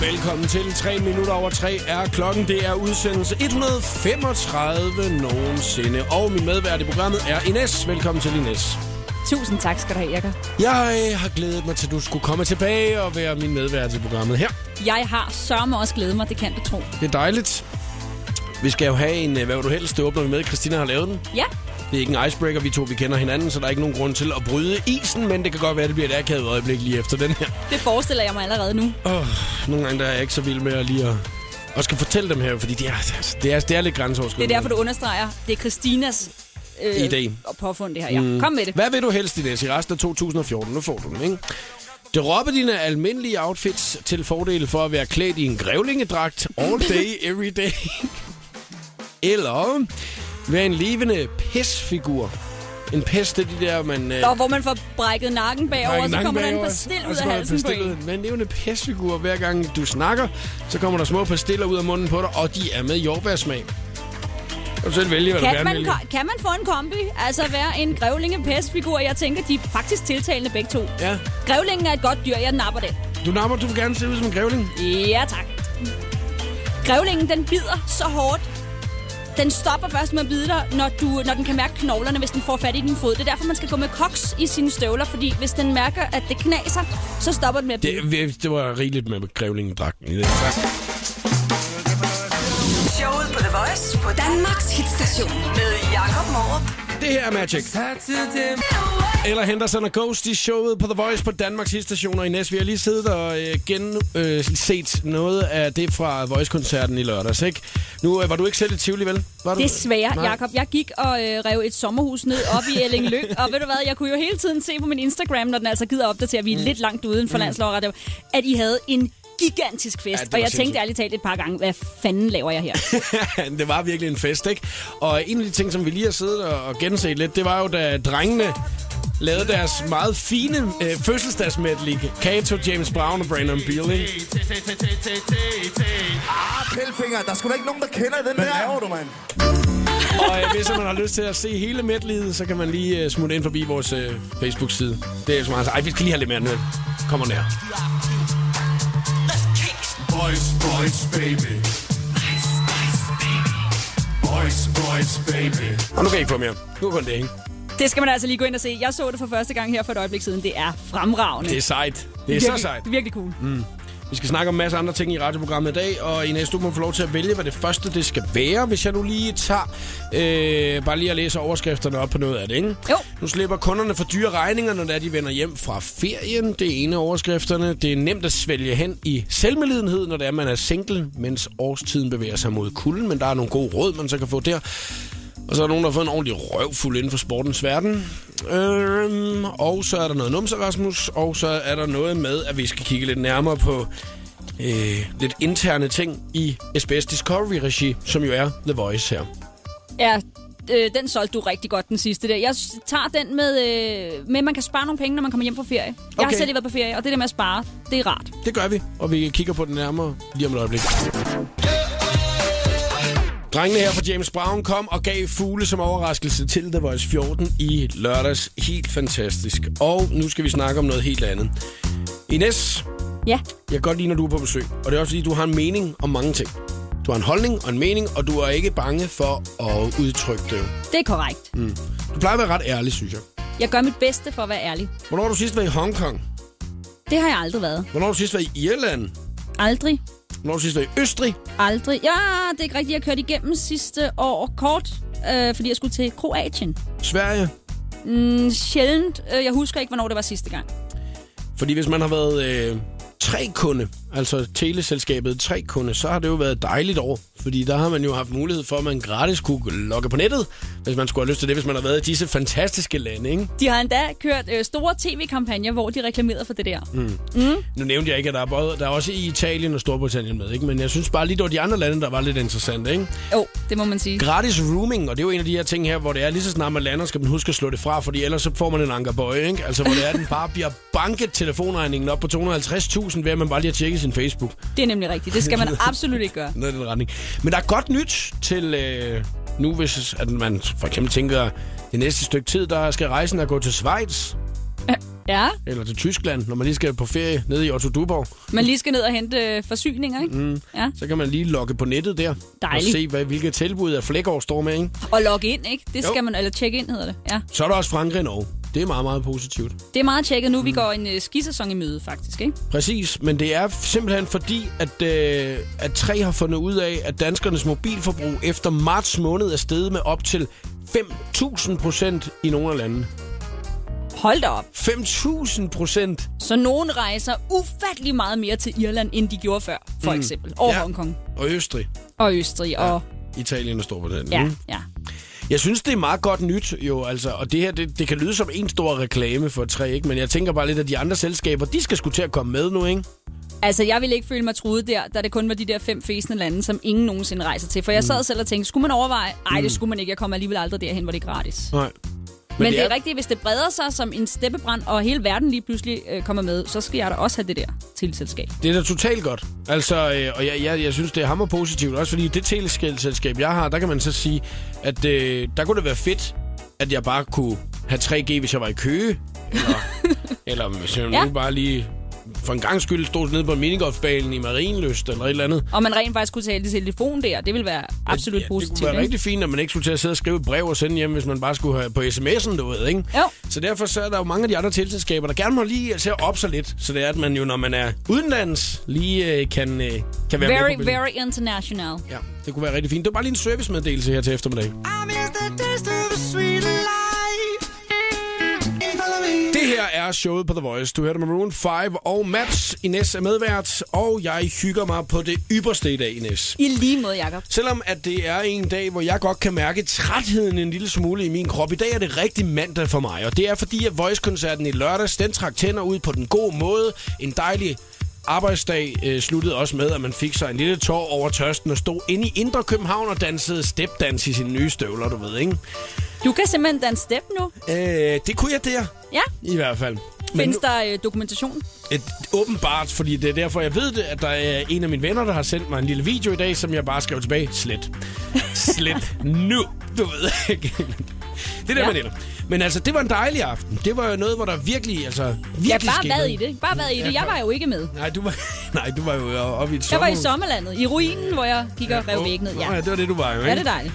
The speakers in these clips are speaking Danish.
Velkommen til 3 minutter over 3 er klokken. Det er udsendelse 135 nogensinde. Og min medvært i programmet er Ines. Velkommen til Ines. Tusind tak skal du have, Erika. Jeg øh, har glædet mig til, at du skulle komme tilbage og være min medvært i programmet her. Jeg har sørme også glædet mig, det kan du tro. Det er dejligt. Vi skal jo have en, øh, hvad vil du helst, det åbner vi med. Christina har lavet den. Ja, Det er ikke en icebreaker, vi to vi kender hinanden, så der er ikke nogen grund til at bryde isen, men det kan godt være, at det bliver et akavet øjeblik lige efter den her. det forestiller jeg mig allerede nu. Oh, nogle gange der er jeg ikke så vild med at lige at, at skal fortælle dem her, fordi det er, altså, det er, det er lidt Det er grænseoverskridende. derfor, du understreger, det er Christinas øh, Idé. Og påfund det her. Ja. Mm. Kom med det. Hvad vil du helst, Ines, i resten af 2014? Nu får du den, ikke? Droppe dine almindelige outfits til fordel for at være klædt i en grævlingedragt all day, every day. Eller være en levende pisfigur. En pest, det er de der, man... Øh, Nå, hvor man får brækket nakken bagover, Række så nakken kommer der en bagover, pastil og ud så af kommer der en halsen på pastil ud en. af- Men det er jo en pestfigur. Hver gang du snakker, så kommer der små pastiller ud af munden på dig, og de er med jordbærsmag. Kan du selv vælge, hvad du Kan gerne man, vil. ko- kan man få en kombi? Altså være en grævlingepestfigur? Jeg tænker, de er faktisk tiltalende begge to. Ja. Grævlingen er et godt dyr, jeg napper den. Du napper, du vil gerne se ud som en grævling. Ja, tak. Grævlingen, den bider så hårdt. Den stopper først med at bide dig, når, du, når den kan mærke knoglerne, hvis den får fat i din fod. Det er derfor, man skal gå med koks i sine støvler, fordi hvis den mærker, at det knaser, så stopper den med at bide. Det... Det, det var rigeligt med grævlingedragten i det. Tak. Showet på The Voice på Danmarks hitstation med Jakob Morup. Det her er Magic. Eller Henderson og Ghost i showet på The Voice på Danmarks hitstationer i Næs. Vi har lige siddet og øh, genset øh, set noget af det fra Voice-koncerten i lørdags, ikke? Nu øh, var du ikke selv i Tivoli, vel? Var du? Desværre, Nej. Jakob. Jeg gik og øh, rev et sommerhus ned op i Ellinglyng, og ved du hvad, jeg kunne jo hele tiden se på min Instagram, når den altså gider opdatere, at vi er Mm. lidt langt uden for landslovret, at I havde en gigantisk fest. det Ja, var og jeg sindssygt. tænkte ærligt talt et par gange, hvad fanden laver jeg her? det var virkelig en fest, ikke? Og en af de ting, som vi lige har siddet og, og genset lidt, det var jo, da drengene lavede deres meget fine øh, fødselsdagsmedley. Kato, James Brown og Brandon Beal, ikke? Ah, pælfinger, der er sgu da ikke nogen, der kender den Hvad der. Hvad laver du, mand? Og øh, hvis man har lyst til at se hele medleyet, så kan man lige øh, smutte ind forbi vores øh, Facebook-side. Det er så meget. Ej, vi skal lige have lidt mere ned. Kommer der. Boys, boys, baby. Boys, boys, baby. Og nu kan I ikke få mere. Nu er kun det, ikke? Det skal man altså lige gå ind og se. Jeg så det for første gang her for et øjeblik siden. Det er fremragende. Det er sejt. Det er så sejt. Det er virkelig cool. Mm. Vi skal snakke om en masse andre ting i radioprogrammet i dag, og Ines, du må få lov til at vælge, hvad det første det skal være, hvis jeg nu lige tager, øh, bare lige at læse overskrifterne op på noget af det, ikke? Jo. Nu slipper kunderne for dyre regninger, når det er, de vender hjem fra ferien. Det er ene af overskrifterne. Det er nemt at svælge hen i selvmedlidenhed, når det er, man er single, mens årstiden bevæger sig mod kulden, men der er nogle gode råd, man så kan få der. Og så er der nogen, der har fået en ordentlig røvfuld inden for sportens verden. Øhm, og så er der noget numse, Rasmus. Og så er der noget med, at vi skal kigge lidt nærmere på øh, lidt interne ting i SBS Discovery-regi, som jo er The Voice her. Ja, øh, den solgte du rigtig godt, den sidste der. Jeg s- tager den med, øh, med, at man kan spare nogle penge, når man kommer hjem fra ferie. Okay. Jeg har Okay. selv lige været på ferie, og det der med at spare, det er rart. Det gør vi, og vi kigger på det nærmere lige om et øjeblik. Drengene her fra James Brown kom og gav fugle som overraskelse til The Voice 14 i lørdags. Helt fantastisk. Og nu skal vi snakke om noget helt andet. Ines, Ja, jeg kan godt lide, når du er på besøg. Og det er også fordi, du har en mening om mange ting. Du har en holdning og en mening, og du er ikke bange for at udtrykke det. det er korrekt. Mm. Du plejer at være ret ærlig, synes jeg. Jeg gør mit bedste for at være ærlig. Hvornår har du sidst været i Hongkong? Det har jeg aldrig været. Hvornår har du sidst været i Irland? Aldrig. Hvornår har du sidst været i Østrig? Aldrig. Ja, det er ikke rigtigt. Jeg kørte igennem sidste år kort, øh, fordi jeg skulle til Kroatien. Sverige? Mm, Sjældent. Øh, Jeg husker ikke, hvornår det var sidste gang. Fordi hvis man har været øh, tre kunde, altså teleselskabet tre kunde, så har det jo været et dejligt år. Fordi der har man jo haft mulighed for, at man gratis kunne logge på nettet, hvis man skulle have lyst til det, hvis man har været i disse fantastiske lande. Ikke? De har endda kørt øh, store tv-kampagner, hvor de reklamerede for det der. Mm. Nu nævnte jeg ikke, at der er, både, der er også i Italien og Storbritannien med, ikke? men jeg synes bare lige, det var de andre lande, der var lidt interessante. Ikke? Jo, det må man sige. Gratis rooming, og det er jo en af de her ting her, hvor det er lige så snart man lander, skal man huske at slå det fra, fordi ellers så får man en ankerbøje, ikke? Altså, hvor det er, den bare bliver banket telefonregningen op på 250.000, ved at man bare lige har tjekket sin Facebook. Det er nemlig rigtigt. Det skal man absolut ikke gøre. noget i den retning. Men der er godt nyt til øh, nu, hvis at man for eksempel tænker, det næste stykke tid, der skal rejsen at gå til Schweiz. Ja, eller til Tyskland, når man lige skal på ferie nede i Otto Duborg. man lige skal ned og hente øh, forsyninger, ikke? Mm. Ja. Så kan man lige logge på nettet der. Og Dejligt. se, hvad, hvilke tilbud af Flækgaard står med. Ikke? Og logge ind, ikke? Det Jo. skal man, eller tjekke ind hedder det. Ja. Så er der også Frankrig og Norge. Det er meget, meget positivt. Det er meget tjekket nu, vi går en øh, skisæson i møde, faktisk, ikke? Præcis, men det er simpelthen fordi, at, øh, at tre har fundet ud af, at danskernes mobilforbrug efter marts måned er steget med op til 5.000 procent i nogle af landene. Hold da op. 5.000 procent! Så nogen rejser ufattelig meget mere til Irland, end de gjorde før, for mm. eksempel. Og ja. Hongkong. Og Østrig. Og Østrig. Og... Italien og Storbritannien. Ja, Mm. ikke? ja. Jeg synes, det er meget godt nyt, jo, altså. Og det her, det, det kan lyde som en stor reklame for tre, ikke? Men jeg tænker bare lidt, at de andre selskaber, de skal skulle til at komme med nu, ikke? Altså, jeg ville ikke føle mig truet der, da det kun var de der fem fæsende lande, som ingen nogensinde rejser til. For jeg Mm. sad selv og tænkte, skulle man overveje? Nej, det skulle man ikke. Jeg kommer alligevel aldrig derhen, hvor det er gratis. Nej. Men, Men det er rigtigt, hvis det breder sig som en steppebrand, og hele verden lige pludselig øh, kommer med, så skal jeg da også have det der teleselskab. Det er da totalt godt. Altså, øh, og jeg, jeg, jeg synes, det er hammer positivt. Også fordi det teleselskab, jeg har, der kan man så sige, at øh, der kunne det være fedt, at jeg bare kunne have 3G, hvis jeg var i Køge. Eller, eller hvis jeg ja. Ja. nu bare lige for en gang skyld stod nede på minigolfbanen i Marienløst eller et eller andet. Og man rent faktisk kunne tale i telefon der, det vil være absolut ja, Det positivt. kunne være ikke? rigtig fint, at man ikke skulle til at sidde og skrive et brev og sende hjem, hvis man bare skulle have på sms'en, du ved, ikke? Jo. Så derfor så er der jo mange af de andre tilselskaber, der gerne må lige øh, til at op sig lidt, så det er, at man jo, når man er udenlands, lige øh, kan, øh, kan være med Very, på billedet. very international. Ja, det kunne være rigtig fint. Det var bare lige en servicemeddelelse her til eftermiddag. Det her er showet på The Voice. Du hørte med Maroon 5 og Mads. Ines er medvært, og jeg hygger mig på det ypperste i dag, Ines. I lige måde, Jacob. Selvom at det er en dag, hvor jeg godt kan mærke trætheden en lille smule i min krop, i dag er det rigtig mandag for mig. Og det er fordi, at Voice-koncerten i lørdags, den trak tænder ud på den gode måde. En dejlig arbejdsdag øh, sluttede også med, at man fik sig en lille tår over tørsten og stod inde i Indre København og dansede stepdans i sine nye støvler, du ved, ikke? Du kan simpelthen danse step nu. Øh, det kunne jeg der, Ja. i hvert fald. Findes der øh, dokumentation? Et, åbenbart, fordi det er derfor, jeg ved det, at der er en af mine venner, der har sendt mig en lille video i dag, som jeg bare skrev tilbage. Slet. Slet nu. Du ved ikke. Det er der, Ja. man ender. Men altså, det var en dejlig aften. Det var jo noget, hvor der virkelig, altså... Virkelig Jeg bare skete været i noget. det. Bare været i det. Jeg var jo ikke med. Nej, du var, nej, du var jo oppe i et Jeg var i sommerhus. sommerlandet. I ruinen, hvor jeg gik og rev Åh, væk ned. nå Ja. Ja. det var det, du var jo, ikke? Er det dejligt?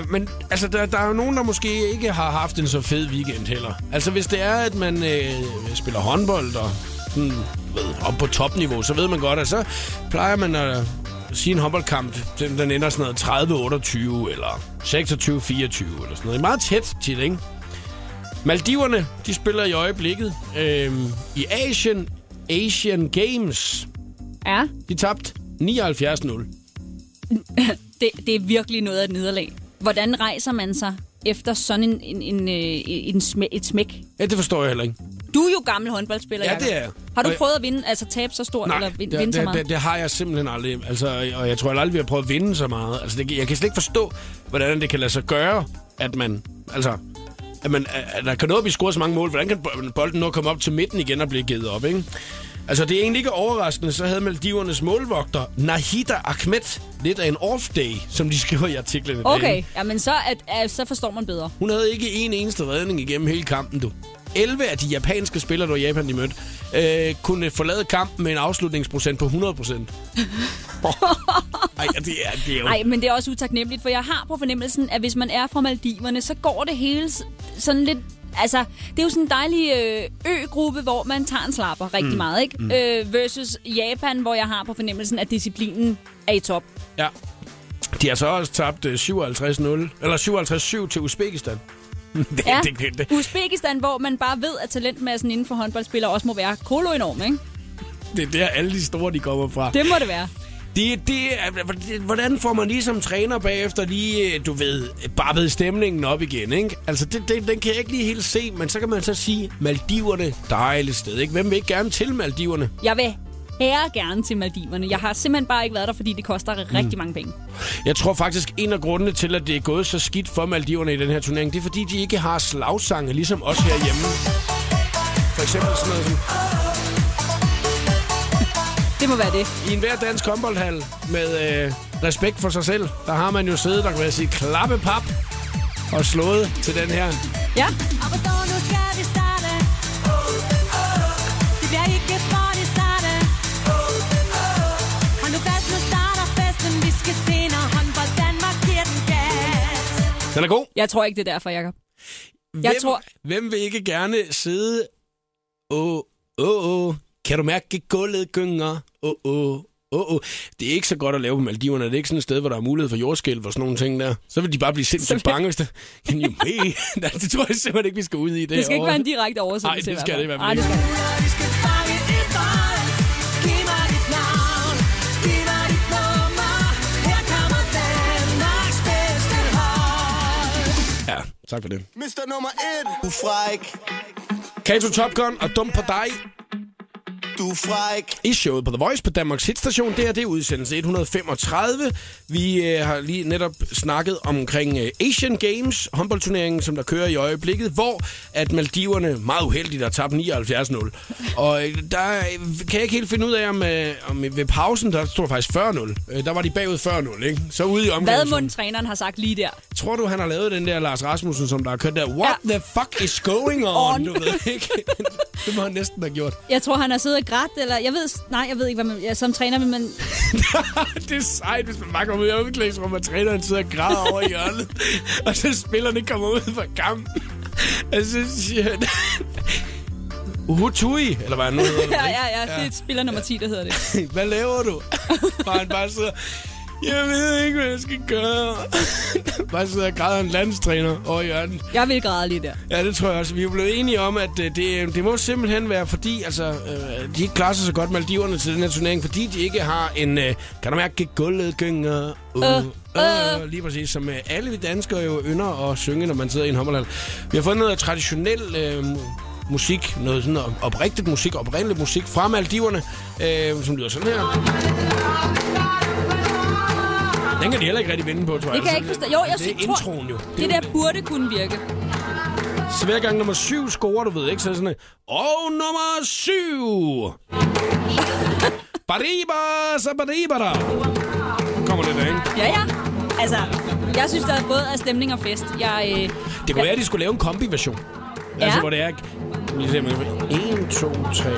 Øh, men altså, der, der er jo nogen, der måske ikke har haft en så fed weekend heller. Altså, hvis det er, at man øh, spiller håndbold og sådan, ved, op på topniveau, så ved man godt, at så plejer man at sige en håndboldkamp, den, den ender sådan noget 30-28 eller 26-24 eller sådan noget. Det er meget tæt tit, ikke? Maldiverne, de spiller i øjeblikket øh, i Asian, Asian Games. Ja. De tabte 79-0. Det, det er virkelig noget af et nederlag. Hvordan rejser man sig efter sådan en, en, en, øh, en smæ, et smæk? Ja, det forstår jeg heller ikke. Du er jo gammel håndboldspiller, Ja, Jacob. det er jeg. Har du Og jeg- prøvet at vinde, altså tabe så stort, eller vinde, det, vinde så det, meget? det, det har jeg simpelthen aldrig. Altså, og jeg tror aldrig, vi har prøvet at vinde så meget. Altså, det, jeg kan slet ikke forstå, hvordan det kan lade sig gøre, at man... Altså, at, man, at der kan nå at blive scoret så mange mål. Hvordan kan bo- bolden nå komme op til midten igen og blive givet op, ikke? Altså, det er egentlig ikke overraskende. Så havde Maldivernes målvogter, Nahida Ahmed, lidt af en off-day, som de skriver i artiklen i dag. Okay, ja, men så, at, at, så forstår man bedre. Hun havde ikke en eneste redning igennem hele kampen, du. 11 af de japanske spillere, der var i Japan, de mødte, øh, kunne forlade kampen med en afslutningsprocent på 100 procent. Ej, det er, det er jo... Nej, men det er også utaknemmeligt, for jeg har på fornemmelsen, at hvis man er fra Maldiverne, så går det hele s- sådan lidt... Altså, det er jo sådan en dejlig øh, ø-gruppe, hvor man tager en slapper rigtig mm. meget, ikke? Mm. Øh, versus Japan, hvor jeg har på fornemmelsen, at disciplinen er i top. Ja. De har så også tabt øh, 57-0, eller 57-7 til Uzbekistan. det, Ja. det, det, det, Uzbekistan, hvor man bare ved, at talentmassen inden for håndboldspillere også må være koloenorm, ikke? det er der, alle de store, de kommer fra. Det må det være. Det, det, er- hvordan får man lige som træner bagefter lige, øh, du ved, babbet stemningen op igen, ikke? Altså, det, det, den kan jeg ikke lige helt se, men så kan man så sige, Maldiverne, dejligt sted, ikke? Hvem vil ikke gerne til Maldiverne? Jeg vil herre gerne til Maldiverne. Jeg har simpelthen bare ikke været der, fordi det koster Mm. rigtig mange penge. Jeg tror faktisk, en af grundene til, at det er gået så skidt for Maldiverne i den her turnering, det er fordi, de ikke har slagsange, ligesom os herhjemme. For eksempel sådan noget som, Det må være det. i enhver dansk håndboldhal med øh, respekt for sig selv, der har man jo siddet, der kan man sige, klappepap og slået til den her. Ja. Arbejdsdagen, nu skal vi starte. Åh, Den er god. Jeg tror ikke, det er derfor, Jacob. Jeg hvem, tror- hvem vil ikke gerne sidde... Åh, åh, åh. Kan du mærke gulvet gynger? Åh, åh. Åh, åh. Det er ikke så godt at lave på Maldiverne. Det er ikke sådan et sted, hvor der er mulighed for jordskælv og sådan nogle ting der. Så vil de bare blive sindssygt bange, hvis det... Can you me? Nej, det tror jeg simpelthen ikke, vi skal ud i det Det skal år. ikke være en direkte Nej, oversættelse. det skal det i hvert fald Nej, det ikke. skal det. Ja, tak for det. Mr. nummer 1. Du er fræk, Kato Top Gun og Dum på dig du er fræk. i showet på The Voice på Danmarks hitstation. Det her det er udsendelse 135. Vi øh, har lige netop snakket omkring øh, Asian Games, håndboldturneringen, som der kører i øjeblikket, hvor at Maldiverne meget uheldigt har tabt 79-0. Og øh, der øh, kan jeg ikke helt finde ud af, om, øh, om ved pausen, der stod faktisk 40-0. Øh, der var de bagud 40-0, ikke? Så ude i Hvad omgangen. mund træneren har sagt lige der. Tror du, han har lavet den der Lars Rasmussen, som der har kørt der? What ja. Ja. the fuck is going on? On. Du ved ikke. det må han næsten have gjort. Jeg tror, han har siddet og grædt, eller jeg ved... Nej, jeg ved ikke, hvad man... Ja, som træner vil man... det er sejt, hvis man bare kommer ud i omklædningsrummet, og træneren sidder og græder over i hjørnet, og så spillerne kommer ud Altså, fra kampen. Og så siger han... Hutui, eller hvad han nu hedder. Ja, ja, ja. Det er spiller nummer 10, der hedder det. Hvad laver du? Og han bare sidder... Jeg ved ikke, hvad jeg skal gøre. bare sidder og græder en landstræner over i hjørnet. Jeg vil græde lige der. Ja, det tror jeg også. Vi er blevet enige om, at øh, det, det må simpelthen være fordi, altså, øh, de ikke klarer sig så godt Maldiverne til den her turnering, fordi de ikke har en, øh, kan du mærke, gulvet gynger. Uh, Øh, uh, uh. Lige præcis, som øh, alle vi danskere jo ynder at synge, når man sidder i en håndboldhal. Vi har fået noget traditionel øh, musik, noget sådan op- oprigtigt musik, oprindelig musik fra Maldiverne, øh, som lyder sådan her. Den kan de heller ikke rigtig vinde på, tror jeg. Altså, Det kan jeg ikke forstå. Jo, jeg det er tror- introen jo. Det der burde kunne virke. Så hver gang nummer syv scorer, du ved ikke, så er det sådan, et, og nummer syv! Bariba, så bariba da. Kommer det der, ikke? Ja, ja. Altså, jeg synes, der både er stemning og fest. Jeg, øh, Det kunne være, at de skulle lave en kombi-version. Ja. Altså, hvor det er... Vi ser, men- En, to, tre...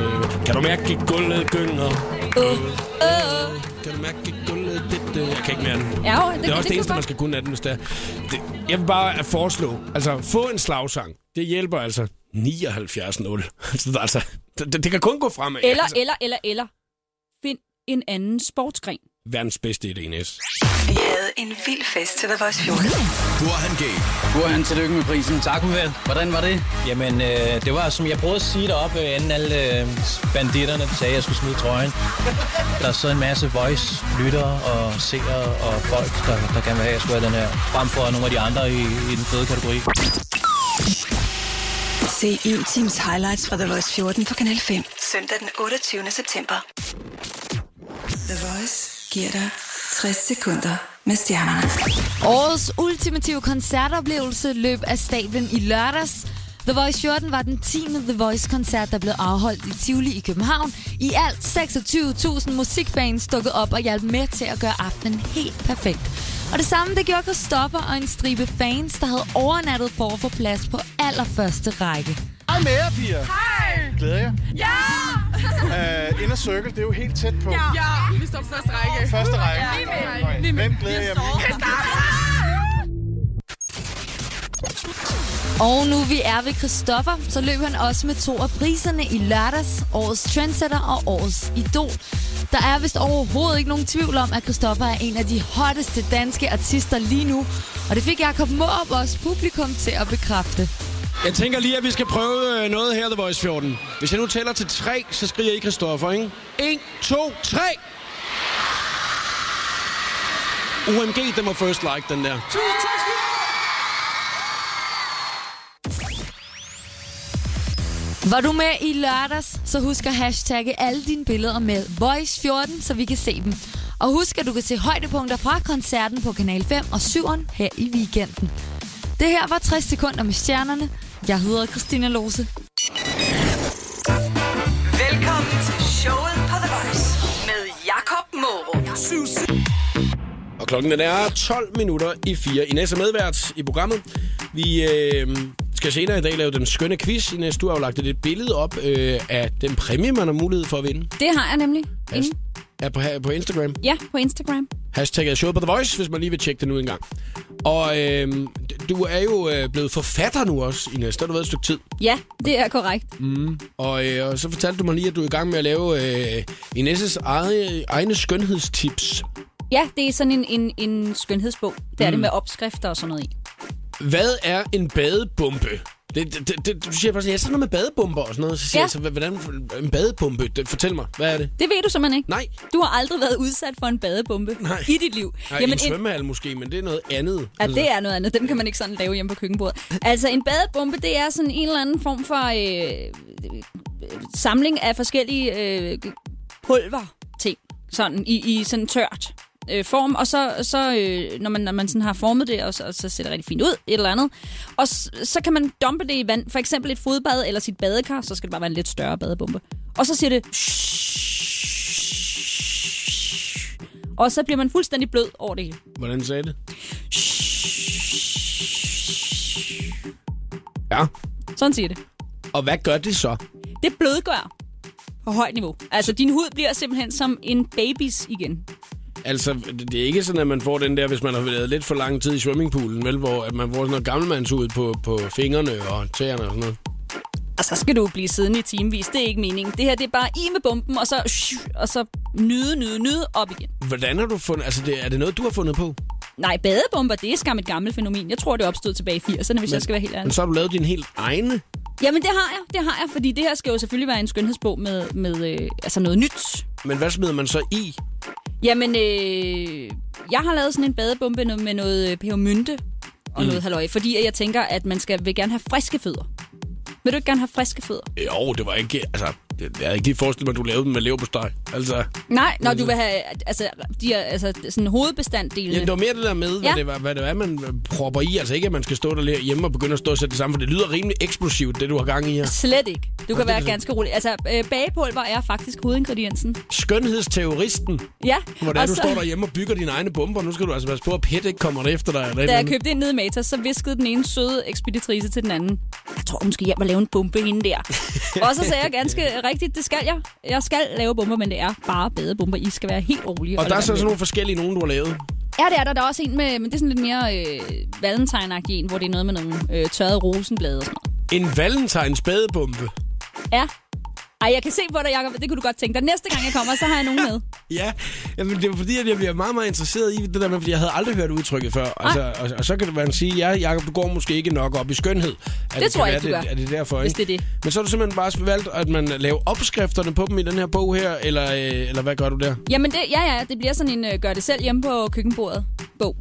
Kan du mærke gulvet gynger? øh, øh, Kan du mærke gulvet det, det? Jeg kan ikke mere den. ja, jo, det, Det er også det, kan eneste, godt- man skal kunne af den, hvis det er. Det, jeg vil bare foreslå, altså få en slagsang. Det hjælper altså 79-0. Altså, der er altså, det, det, det kan kun gå fremad. Eller, altså. eller, eller, eller. Find en anden sportsgren. verdens bedste i det NS. Vi havde en vild fest til The Voice 14. Burhan Gay. Burhan, tillykke med prisen. Tak, Uvel. Hvordan var det? Jamen, øh, det var, som jeg prøvede at sige deroppe, øh, inden alle øh, banditterne sagde, at jeg skulle smide trøjen. Der sidder en masse voice-lyttere og seere og folk, der, der gerne vil have, at jeg skulle have den her, frem for nogle af de andre i, i den fede kategori. Se en times highlights fra The Voice 14 på Kanal 5. Søndag den 28. september. The Voice giver dig 60 sekunder med stjernerne. Årets ultimative koncertoplevelse løb af stablen i lørdags. The Voice 14 var den 10. The Voice-koncert, der blev afholdt i Tivoli i København. I alt 26.000 musikfans dukkede op og hjalp med til at gøre aftenen helt perfekt. Og det samme det gjorde Christoffer og en stribe fans, der havde overnattet for at få plads på allerførste række. Hej med jer, piger. Hej. Glæder jeg. Ja. Uh, Inner Circle, det er jo helt tæt på. Ja, ja. vi står på første række. Første række. Ja. Hvem glæder jeg mest? Og nu vi er ved Christoffer, så løb han også med to af priserne i lørdags, årets trendsetter og årets idol. Der er vist overhovedet ikke nogen tvivl om, at Christoffer er en af de hotteste danske artister lige nu. Og det fik Jacob Måb vores publikum til at bekræfte. Jeg tænker lige, at vi skal prøve øh, noget her, The Voice 14. Hvis jeg nu tæller til 3, så skriger I Christoffer, ikke? 1, 2, 3! OMG, den var first like, den der. Var du med i lørdags, så husk at hashtagge alle dine billeder med Voice14, så vi kan se dem. Og husk, at du kan se højdepunkter fra koncerten på Kanal 5 og 7'eren her i weekenden. Det her var 60 sekunder med stjernerne. Jeg hedder Christina Lose. Velkommen til showet på The Voice med Jakob Morup. Og klokken den er 12 minutter i 4. Ines er medvært i programmet. Vi øh, skal senere i dag lave den skønne quiz. Ines, du har jo lagt et billede op øh, af den præmie, man har mulighed for at vinde. Det har jeg nemlig. Inde. Er på, her- på Instagram. Ja, på Instagram. Hashtagget er showet på The Voice, hvis man lige vil tjekke den ud en gang. Og øhm, d- du er jo øh, blevet forfatter nu også, Ines. Der har du været et stykke tid. Ja, det er korrekt. Og, øh, og så fortalte du mig lige, at du er i gang med at lave øh, Ines' eget, egne skønhedstips. Ja, det er sådan en, en, en skønhedsbog. Det er det Mm. med opskrifter og sådan noget i. Hvad er en badebombe? Det, det, det, det, du siger bare sådan, ja, sådan noget med badebomber og sådan noget. Så siger ja. Ja. jeg, så, "Hva- hvordan en badebombe? Det, fortæl mig, hvad er det? Det ved du simpelthen ikke. Nej, Du har aldrig været udsat for en badebombe Nej. i dit liv. Nej Jamen, en svømmehal måske, men det er noget andet. Ja, det er noget andet. Dem kan man ikke sådan lave hjemme på køkkenbordet. Altså, en badebombe, det er sådan en eller anden form for øh, øh, samling af forskellige øh, pulver ting, sådan i, i sådan tørt øh, form, og så, så øh, når man, når man sådan har formet det, og så, og så ser det rigtig fint ud, et eller andet, og s- så kan man dumpe det i vand, for eksempel et fodbad eller sit badekar, så skal det bare være en lidt større badebombe. Og så siger det... Og så bliver man fuldstændig blød over det hele. Hvordan sagde det? Ja, Sådan siger det. og hvad gør det så? Det blødgør på højt niveau. Altså, din hud bliver simpelthen som en babys igen. Altså, det er ikke sådan, at man får den der, hvis man har været lidt for lang tid i swimmingpoolen, vel? Hvor at man får sådan noget gammelmandshud på, på fingrene og tæerne og sådan noget. Og så skal du blive siddende i timevis. Det er ikke meningen. Det her, det er bare i med bomben, og så, og så nyde, nyde, nyde op igen. Hvordan har du fundet... Altså, det, er det noget, du har fundet på? Nej, badebomber, det er skam et gammelt fænomen. Jeg tror, det opstod tilbage i 80'erne, hvis Men... jeg skal være helt Men ærlig. så har du lavet din helt egne... Jamen, det har jeg. Det har jeg, fordi det her skal jo selvfølgelig være en skønhedsbog med, med øh, altså noget nyt. Men hvad smider man så i? Jamen, øh, jeg har lavet sådan en badebombe no- med noget øh, pebermynte og mm. noget halløj, fordi at jeg tænker, at man skal, vil gerne have friske fødder. Vil du ikke gerne have friske fødder? Jo, det var ikke... Altså, det, jeg havde ikke lige forestillet mig, at du lavede dem med leverpostej. Altså, Nej, når du vil have altså, de her, altså, sådan hovedbestanddelene. Ja, det var mere det der med, hvad, ja. Ja. det, var, hvad det er, man propper i. Altså ikke, at man skal stå der hjemme og begynde at stå og sætte det sammen, for det lyder rimelig eksplosivt, det du har gang i her. Slet ikke. Du kan det er være det. ganske rolig. Altså, øh, bagepulver er faktisk hovedingrediensen. Skønhedsterroristen, Ja. hvor det er, og du så- står derhjemme og bygger dine egne bomber. Nu skal du altså passe på, at PET ikke kommer efter dig. Eller et Da eller jeg andet. købte ind nede i Matas, så viskede den ene søde ekspeditrice til den anden. Jeg tror, hun skal hjem og lave en bombe hende der. og så sagde jeg ganske rigtigt, det skal jeg. Jeg skal lave bomber, men det er bare badebomber. I skal være helt rolige. Og der er lade så sådan være. nogle forskellige nogen, du har lavet. Ja, det er der. Der er også en med, men det er sådan lidt mere øh, valentine en, hvor det er noget med nogle øh, tørrede rosenblade og sådan noget. En valentines badebombe. Ja. Ej, jeg kan se på dig, Jacob. Det kunne du godt tænke dig. Næste gang jeg kommer, så har jeg nogen med. Ja, jamen, det er fordi, at jeg bliver meget, meget interesseret i det der med, fordi jeg havde aldrig hørt udtrykket før. Altså, og, og, så kan det være, at sige, ja, Jacob, du går måske ikke nok op i skønhed. Er Det tror jeg kan ikke, være, du det, gør, Er det derfor, hvis ikke? det er det. Men så har du simpelthen bare valgt, at man laver opskrifterne på dem i den her bog her, eller, øh, eller hvad gør du der? Jamen, det, ja, ja, det bliver sådan en øh, gør det selv hjemme på køkkenbordet bog.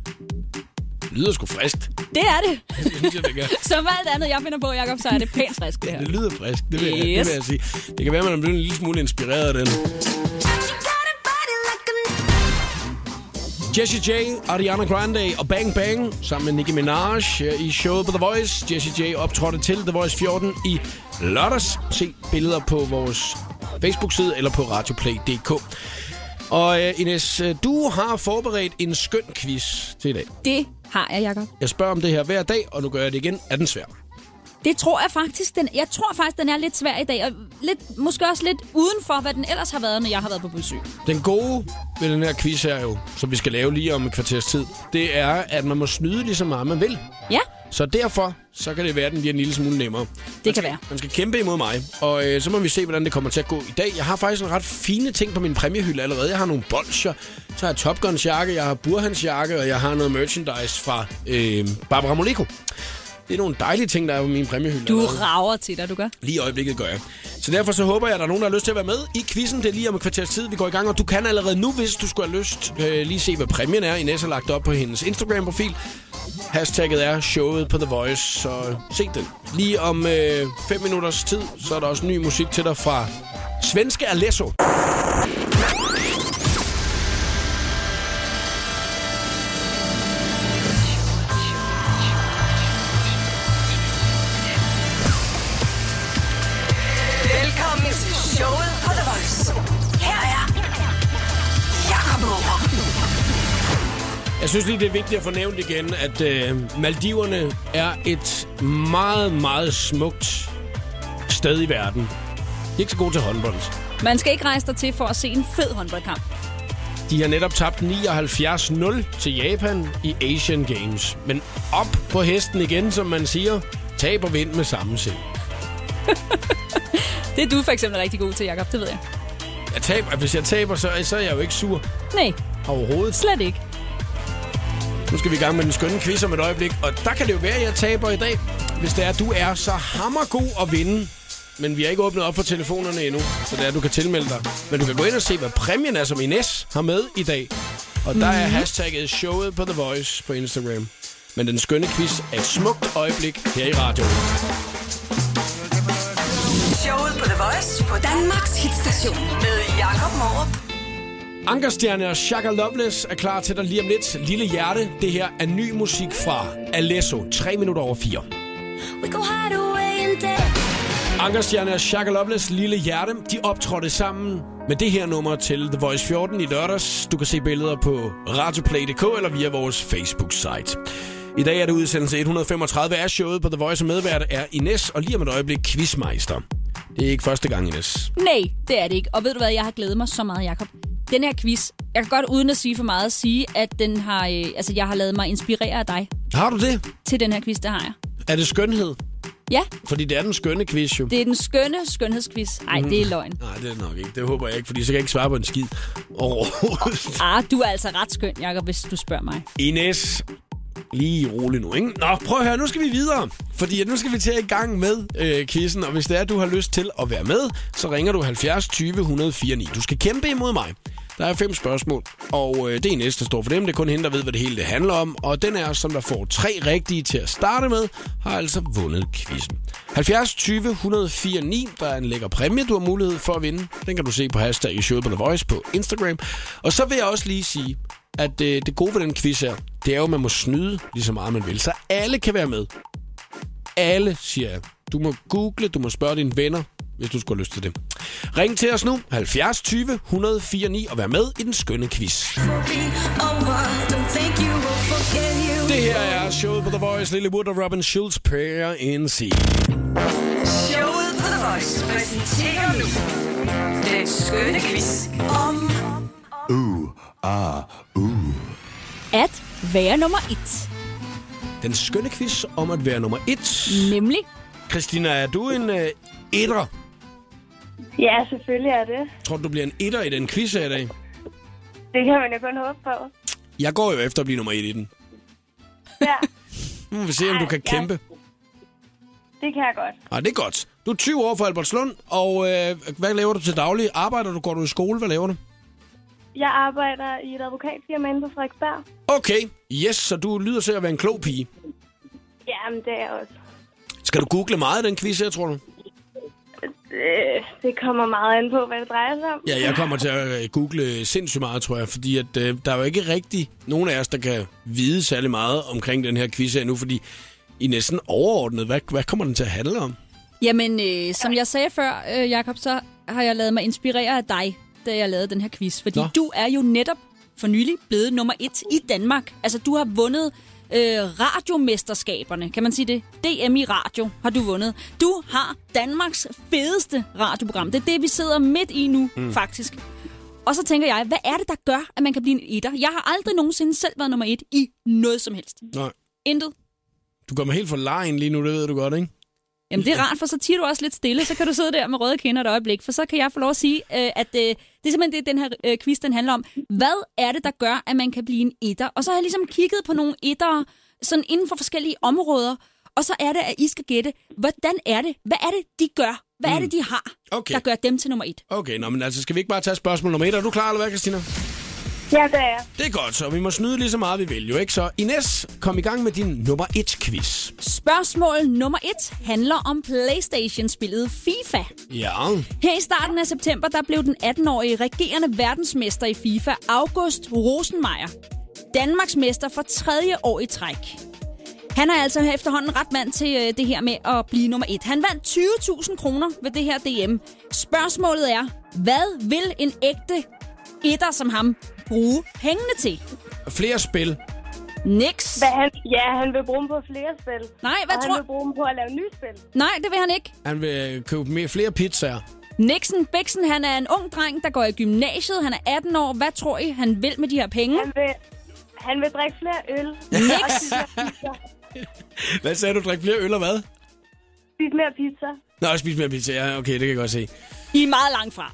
Det lyder sgu frist. Det er det. Det synes jeg, det gør. Som alt andet, jeg finder på, Jacob, så er det pænt frisk, det her. Det lyder frisk, det vil, yes. jeg, det Yes. vil jeg sige. Det kan være, at man er blevet en lille smule inspireret af den. Jessie J, Ariana Grande og Bang Bang sammen med Nicki Minaj her i showet på The Voice. Jessie J optrådte til The Voice 14 i lørdags. Se billeder på vores Facebook-side eller på radioplay.dk. Og øh, Ines, øh, du har forberedt en skøn quiz til i dag. Det har jeg, Jacob. Jeg spørger om det her hver dag, og nu gør jeg det igen. Er den svær? Det tror jeg faktisk. Den, jeg tror faktisk, den er lidt svær i dag, og lidt, måske også lidt uden for, hvad den ellers har været, når jeg har været på besøg. Den gode ved den her quiz her jo, som vi skal lave lige om et kvarters tid, det er, at man må snyde lige så meget, man vil. Ja, Så derfor, så kan det være, at den bliver en lille smule nemmere. det kan være. Man skal kæmpe imod mig, og øh, så må vi se, hvordan det kommer til at gå i dag. Jeg har faktisk en ret fine ting på min præmiehylde allerede. Jeg har nogle bolcher, så har jeg Top Guns jakke, jeg har Burhans jakke, og jeg har noget merchandise fra øh, Barbara Moleko. Det er nogle dejlige ting, der er på min præmiehylde. Du allerede. rager til dig, du gør. Lige i øjeblikket gør jeg. Så derfor så håber jeg, at der er nogen, der har lyst til at være med i quizzen. Det er lige om et kvarters tid, vi går i gang. Og du kan allerede nu, hvis du skulle have lyst, øh, lige se, hvad præmien er. Ines har lagt op på hendes Instagram-profil. Hashtagget er showet på The Voice, så se den. Lige om 5 øh, fem minutters tid, så er der også ny musik til dig fra svenske Alesso. Velkommen til showet på The Voice. Her er Jakob Morup. Jeg synes lige, det er vigtigt at fornævne igen, at øh, Maldiverne er et meget, meget smukt sted i verden. De er ikke så gode til håndbold. Man skal ikke rejse dig til for at se en fed håndboldkamp. De har netop tabt 79-0 til Japan i Asian Games. Men op på hesten igen, som man siger. Tab og vind med samme sind. Det er du for eksempel rigtig god til, Jakob. Det ved jeg. Jeg taber, hvis jeg taber, så, så er jeg jo ikke sur Nej, overhovedet. slet ikke. Nu skal vi i gang med den skønne quiz om et øjeblik, og der kan det jo være, at jeg taber i dag, hvis det er, at du er så hammergod at vinde. Men vi har ikke åbnet op for telefonerne endnu, så det er, at du kan tilmelde dig. Men du kan gå ind og se, hvad præmien er, som Ines har med i dag. Og der er hashtagget showet på The Voice på Instagram. Men den skønne quiz er et smukt øjeblik her i radioen. Showet på The Voice på Danmarks hitstation med Jakob Morup. Ankerstjerne og Shaka Loveless er klar til dig lige om lidt. Lille Hjerte, det her er ny musik fra Alesso. 3 minutter over 4. Ankerstjerne og Shaka Loveless, Lille Hjerte, de optrådte sammen med det her nummer til The Voice 14 i lørdags. Du kan se billeder på radioplay.dk eller via vores Facebook-site. I dag er det udsendelse 135 af showet på The Voice, og medvært er Ines, og lige om et øjeblik quizmeister. Det er ikke første gang, Ines. Nej, det er det ikke. Og ved du hvad, jeg har glædet mig så meget, Jakob. Den her quiz, jeg kan godt uden at sige for meget sige, at den har, øh, altså, jeg har lavet mig inspirere af dig Har du det? til den her quiz, det har jeg. Er det skønhed? Ja, Fordi det er den skønne quiz, jo. det er den skønne skønhedsquiz. Nej, det er løgn. Nej, det er det nok ikke. Det håber jeg ikke, fordi så kan jeg ikke svare på en skid overhovedet. Ah, du er altså ret skøn, Jakob, hvis du spørger mig. Ines, lige rolig nu, ikke? Nå, prøv at høre, nu skal vi videre. Fordi nu skal vi til i gang med øh, quizzen, og hvis det er, du har lyst til at være med, så ringer du 70 20 104 9. Du skal kæmpe imod mig. Der er fem spørgsmål, og øh, det er Ines, der står for dem. Det er kun hende, der ved, hvad det hele det handler om. Og den er, som der får tre rigtige til at starte med, har altså vundet quizzen. 70 20 104 9. Der er en lækker præmie, du har mulighed for at vinde. Den kan du se på hashtag i showet på The Voice på Instagram. Og så vil jeg også lige sige, at øh, det gode ved den quiz her, det er jo, at man må snyde lige så meget, man vil. Så alle kan være med. Alle, siger jeg. Du må google, du må spørge dine venner, hvis du skulle have lyst til det. Ring til os nu, 70 20 104 9, og vær med i den skønne quiz. Det her er showet på The Voice, Lille Wood og Robin Schulz, Prayer in Sea. Showet på The Voice præsenterer nu den skønne quiz om At være nummer et. Den skønne quiz om at være nummer et. Nemlig, Christina, er du en øh, etter? Ja, selvfølgelig er det. Tror du, du bliver en etter i den quiz her i dag? Det kan man jo kun håbe på. Jeg går jo efter at blive nummer et i den. Ja, Nu må vi se, om du kan ja. kæmpe. det kan jeg godt. Ja, Ah, det er godt. Du er 20 år fra Albertslund, og øh, hvad laver du til daglig? Arbejder du? Går du i skole? Hvad laver du? Jeg arbejder i et advokatfirma inde på Frederiksberg. Okay, yes, så du lyder til at være en klog pige. Jamen, det er jeg også. Skal du google meget i den quiz her, tror du? Det, Øh, det kommer meget an på, hvad det drejer sig om. Ja, jeg kommer til at øh, google sindssygt meget, tror jeg, fordi at, øh, der er jo ikke rigtig nogen af os, der kan vide særlig meget omkring den her quiz her nu, fordi i er næsten overordnet. Hvad, hvad kommer den til at handle om? jamen, øh, som jeg sagde før, øh, Jakob, så har jeg lavet mig inspirere af dig, da jeg lavede den her quiz. Fordi Nå. Nå. du er jo netop for nylig blevet nummer et i Danmark. Altså, du har vundet øh, radiomesterskaberne, kan man sige det? DM i radio har du vundet. Du har Danmarks fedeste radioprogram. Det er det, vi sidder midt i nu, mm. faktisk. Og så tænker jeg, hvad er det, der gør, at man kan blive en etter? Jeg har aldrig nogensinde selv været nummer et i noget som helst. Nej, Intet. du kommer helt for lejen lige nu, det ved du godt, ikke? Jamen, det er rart, for så tiger du også lidt stille, så kan du sidde der med røde kinder et øjeblik, for så kan jeg få lov at sige, øh, at øh, det er simpelthen det, den her øh, quiz, den handler om. Hvad er det, der gør, at man kan blive en etter? Og så har jeg ligesom kigget på nogle etter, sådan inden for forskellige områder, og så er det, at I skal gætte, hvordan er det? Hvad er det, de gør? Hvad er det, de har, Okay. der gør dem til nummer et? Okay, nå, men altså, skal vi ikke bare tage spørgsmål nummer et? Er du klar, eller hvad, Christina? Ja, det er jeg. Det er godt, så vi må snyde lige så meget, vi vil jo, ikke? Så Ines, kom i gang med din nummer et quiz. Spørgsmål nummer et handler om Playstation-spillet FIFA. Ja, Her i starten af september, der blev den 18-årige regerende verdensmester i FIFA, August Rosenmeier, Danmarks mester for tredje år i træk. Han er altså efterhånden ret mand til øh, det her med at blive nummer et. Han vandt 20.000 kroner ved det her DM. Spørgsmålet er, hvad vil en ægte etter som ham bruge pengene til? flere spil. Niks. Hvad han, ja, han vil bruge dem på flere spil. Nej, hvad og tror- han vil bruge dem på at lave nye spil. Nej, det vil han ikke. Han vil købe mere, øh, flere pizzaer. Nixon Bixen, han er en ung dreng, der går i gymnasiet. Han er 18 år. Hvad tror I, han vil med de her penge? Han vil, han vil drikke flere øl. Nix. Hvad sagde du? Drik flere øl og hvad? Spis mere pizza. Nå, spis mere pizza. Ja, okay, det kan jeg godt se. I er meget langt fra.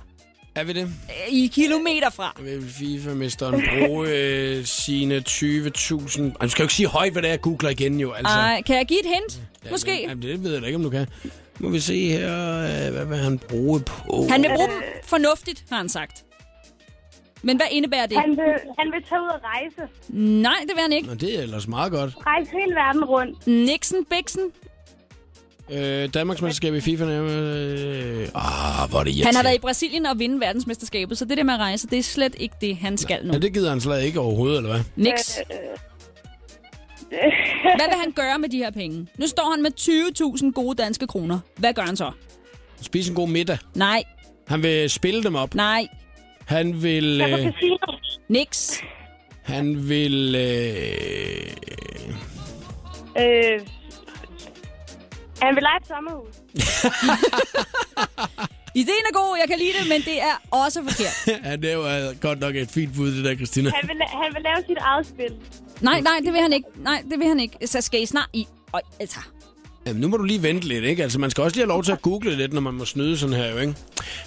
Er vi det? I er kilometer fra. Vil FIFA-mesteren bruge øh, sine 20.000... Ej, Du skal jo ikke sige højt, hvad det er, jeg googler igen jo. Altså. Ej, kan jeg give et hint? Måske. Jamen, det ved jeg da ikke, om du kan. Nu må vi se her, øh, hvad vil han bruge på? Han vil bruge dem fornuftigt, har han sagt. Men hvad indebærer det? Han vil, han vil tage ud og rejse. Nej, det vil han ikke. Nå, det er ellers meget godt. Rejse hele verden rundt. Nixon Bixen, Øh, Danmarksmesterskab i FIFA. Øh, ah, hvor er det han har irriterende. været i Brasilien og vinde verdensmesterskabet, så det der med at rejse, det er slet ikke det, han skal nu. Ja, det gider han slet ikke overhovedet, eller hvad? Nix. Øh, Hvad vil han gøre med de her penge? Nu står han med 20.000 gode danske kroner. Hvad gør han så? Spise en god middag. Nej, Han vil spille dem op. nej, Han vil... Øh, nix. han vil... Øh, Øh, han vil lege et sommerhus. Ideen er god, jeg kan lide det, men det er også forkert. ja, det var godt nok et fint bud, det der, Christina. Han vil, han vil lave sit eget spil. Nej, nej, det vil han ikke. Nej, det vil han ikke. Så skal I snart i. Og, altså. Jamen, nu må du lige vente lidt, ikke? Altså, man skal også lige have lov til at google lidt, når man må snyde sådan her, jo, ikke?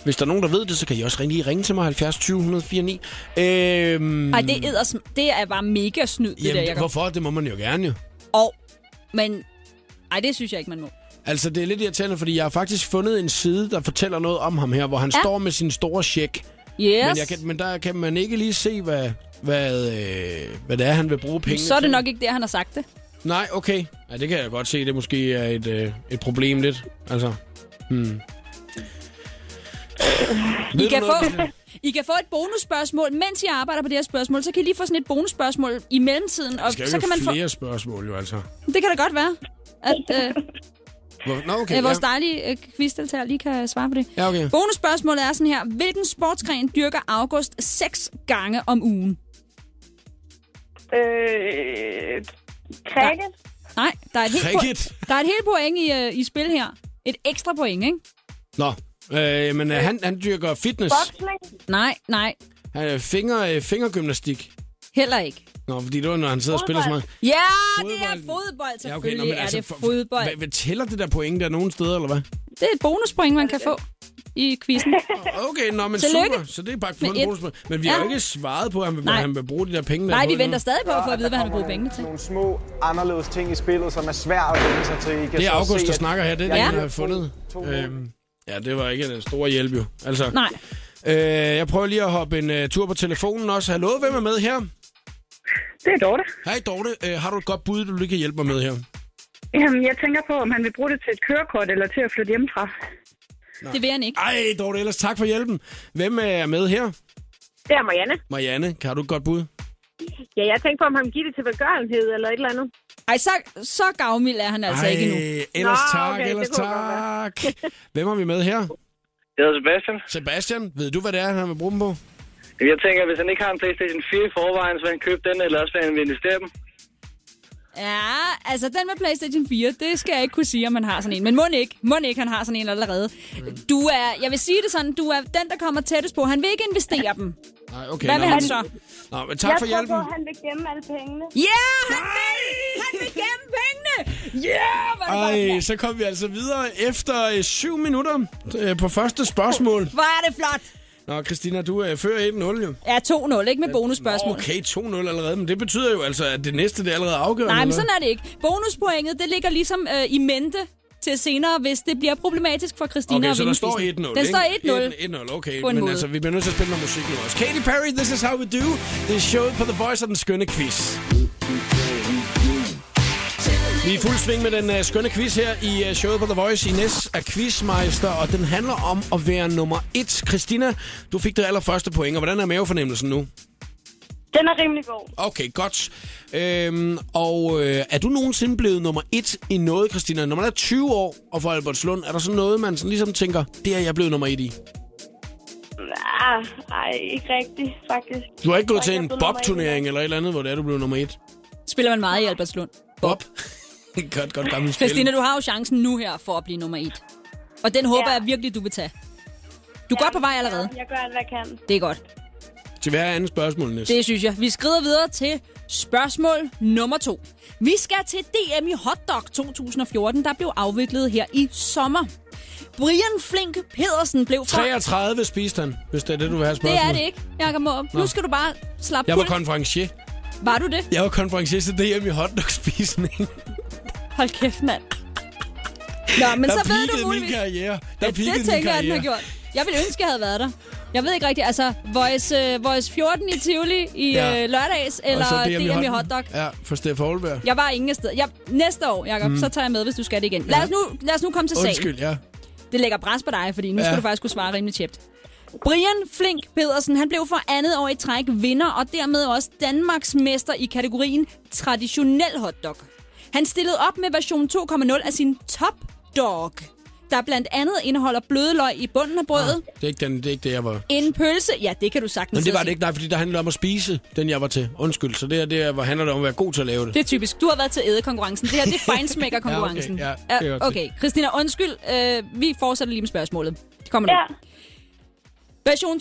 Hvis der er nogen, der ved det, så kan I også ringe, lige ringe til mig, 70 20 149. Øhm, Ej, det, edder, det er bare mega snyd, det Jamen, der, jeg hvorfor? Det må man jo gerne, jo. Og, men... Ej, det synes jeg ikke, man må. Altså, det er lidt irriterende, fordi jeg har faktisk fundet en side, der fortæller noget om ham her, hvor han Ja. ja. står med sin store check. Yes. Men, jeg kan, men der kan man ikke lige se, hvad, hvad, øh, hvad det er, han vil bruge pengene Så er det til. nok ikke der, han har sagt det. Nej, okay. Ja, det kan jeg godt se. Det måske er et, øh, et problem lidt. Altså, hmm. I Ved kan, du få, noget, Christina? I kan få et bonusspørgsmål, mens I arbejder på det her spørgsmål. Så kan I lige få sådan et bonusspørgsmål i mellemtiden. Der Og skal jo så ikke kan man være få... flere spørgsmål, jo altså. Det kan da godt være, at øh, Hvor- Nå, okay. okay, vores dejlige øh, quizdeltager lige kan svare på det. Ja, okay. Bonusspørgsmålet er sådan her. Hvilken sportsgren dyrker August seks gange om ugen? Øh, cricket. Nej, der er et helt, Cricket? po- der er et helt point i, øh, i spil her. Et ekstra point, ikke? Nå, øh, men øh, han, han dyrker fitness. Boksning. Nej, nej. Han, øh, finger, øh, fingergymnastik. Heller ikke. Nå, fordi det var, når han sidder og spiller så meget. Ja, det er fodbold, selvfølgelig ja, okay, er det altså, for- for- fodbold. Hvad, hvad tæller det der point der nogen steder, eller hvad? Det er et bonuspoint, man kan få i quizzen. Okay, nå, men Tillykke. super. Så det er bare Med kun et. et bonus. Men vi har Ja. jo ikke svaret på, at han vil, Nej. han vil bruge de der penge. Der Nej, er på vi nu. venter stadig på at få at vide, hvad han har brugt pengene til. Nogle små, anderledes ting i spillet, som er svært at vende sig til. I kan Det er så August, se, der at- snakker her. Det er Ja. ja. den, jeg har fundet. Øhm, ja, det var ikke den store hjælp, jo. Altså, Nej. Øh, jeg prøver lige at hoppe en uh, tur på telefonen også. Hallo, hvem er med her? Det er Dorte. Hej, Dorte. Øh, har du et godt bud, du lige kan hjælpe mig med her? Jamen, jeg tænker på, om han vil bruge det til et kørekort eller til at flytte hjemmefra. Det vil han ikke. Ej, Dorte, ellers tak for hjælpen. Hvem er med her? Det er Marianne. Marianne, kan du et godt bud? Ja, jeg tænkte på, om han giver det til velgørenhed eller et eller andet. Ej, så, så gavmild er han altså Ej, ikke endnu. ellers Nå, tak, okay, det ellers kunne godt tak. Hvem har vi med her? Jeg hedder Sebastian. Sebastian, ved du, hvad det er, han vil bruge dem på? Jeg tænker, hvis han ikke har en PlayStation 4 i forvejen, så vil han købe den, eller også vil han investere dem. Ja, altså den med PlayStation 4, det skal jeg ikke kunne sige, om han har sådan en. Men må ikke, må ikke, han har sådan en allerede. Du er, jeg vil sige det sådan, du er den, der kommer tættest på. Han vil ikke investere dem. Nej, okay. Hvad vil nå, han men- så? Nå, men tak jeg for tror hjælpen. På, at han vil gemme alle pengene. Ja, han vil, han vil gemme pengene. Ja, hvor er det bare Ej, flot. så kom vi altså videre efter øh, syv minutter øh, på første spørgsmål. Hvor er det flot. Nå, Christina, du øh, fører 1-0 jo. Ja, 2-0, ikke med bonusspørgsmål. Okay, 2-0 allerede, men det betyder jo altså, at det næste det er allerede afgørende. Nej, men eller? sådan er det ikke. Bonuspoenget, det ligger ligesom øh, i mente til senere, hvis det bliver problematisk for Christina Okay, at så vinde der står 1-0, quizzen. Den ikke? står 1-0. 1-0, okay. På en Men måde. altså, vi bliver nødt til at spille noget musik nu også. Katy Perry, This Is How We Do. Det er showet på The Voice og den skønne quiz. Vi er i fuld sving med den uh, skønne quiz her i uh, showet på The Voice. Ines er quizmeister, og den handler om at være nummer et. Christina, du fik det allerførste point, og hvordan er mavefornemmelsen nu? Den er rimelig god. Okay, godt. Øhm, og øh, er du nogensinde blevet nummer et i noget, Christina? Når man er 20 år og for Albertslund, er der sådan noget, man sådan ligesom tænker, det er jeg blevet nummer et i? Ah, ej, ikke rigtigt, faktisk. Du har ikke gået Jeg til tror en jeg er blevet nummer bob-turnering eller et eller andet, hvor det er, du blev nummer et? Spiller man meget i Albertslund. Bob? godt, godt gammelt spil. Christina, du har jo chancen nu her for at blive nummer et. Og den håber Ja. jeg virkelig, du vil tage. Du er godt på vej allerede. Jeg gør alt, hvad jeg kan. Det er godt. Til hver andet spørgsmål næsten. Det synes jeg. Vi skrider videre til spørgsmål nummer to. Vi skal til DM i Hotdog 2014, der blev afviklet her i sommer. Brian Flink Pedersen blev fra... 33 spiste han, hvis det er det, du vil have spørgsmål. Det er det ikke, Jakob Morup. Nu Nå. skal du bare slappe Jeg var fuldt- konferencier. Var du det? Jeg var konferencier til DM i hotdogspisning. Hold kæft, mand. Nå, men Der så ved peakede du min muligvis... karriere. Der Ja, peakede min det tænker jeg, den har karriere. gjort. Jeg ville ønske, jeg havde været der. Jeg ved ikke rigtigt, altså Voice, uh, Voice 14 i Tivoli i Ja. ja. uh, lørdags, Og så eller DM i hotdog. hotdog. Ja, for Steff Holberg. Jeg var ingen sted. Jeg, næste år, Jacob, Mm. mm. så tager jeg med, hvis du skal det igen. Lad os nu, lad os nu komme til sagen. Undskyld, ja. Det lægger pres på dig, fordi nu Ja. ja. skal du faktisk kunne svare rimelig tjept. Brian Flink Pedersen, han blev for andet år i træk vinder, og dermed også Danmarks mester i kategorien traditionel hotdog. Han stillede op med version 2.0 af sin Top Dog, der blandt andet indeholder bløde løg i bunden af brødet, Det er ikke, den, det, er ikke det, jeg var... en pølse, ja, det kan du sagtens Men Ah. det sidde var og det sige. ikke, nej, fordi der handlede om at spise, den jeg var til. Undskyld, så det her, det her hvor handler det om at være god til at lave det. Det er typisk. Du har været til ædekonkurrencen. Det her, det er fejnsmækkerkonkurrencen. Ja, okay. Ja, det er godt okay. Christina, undskyld. Øh, vi fortsætter lige med spørgsmålet. Det kommer nu. Ja. Version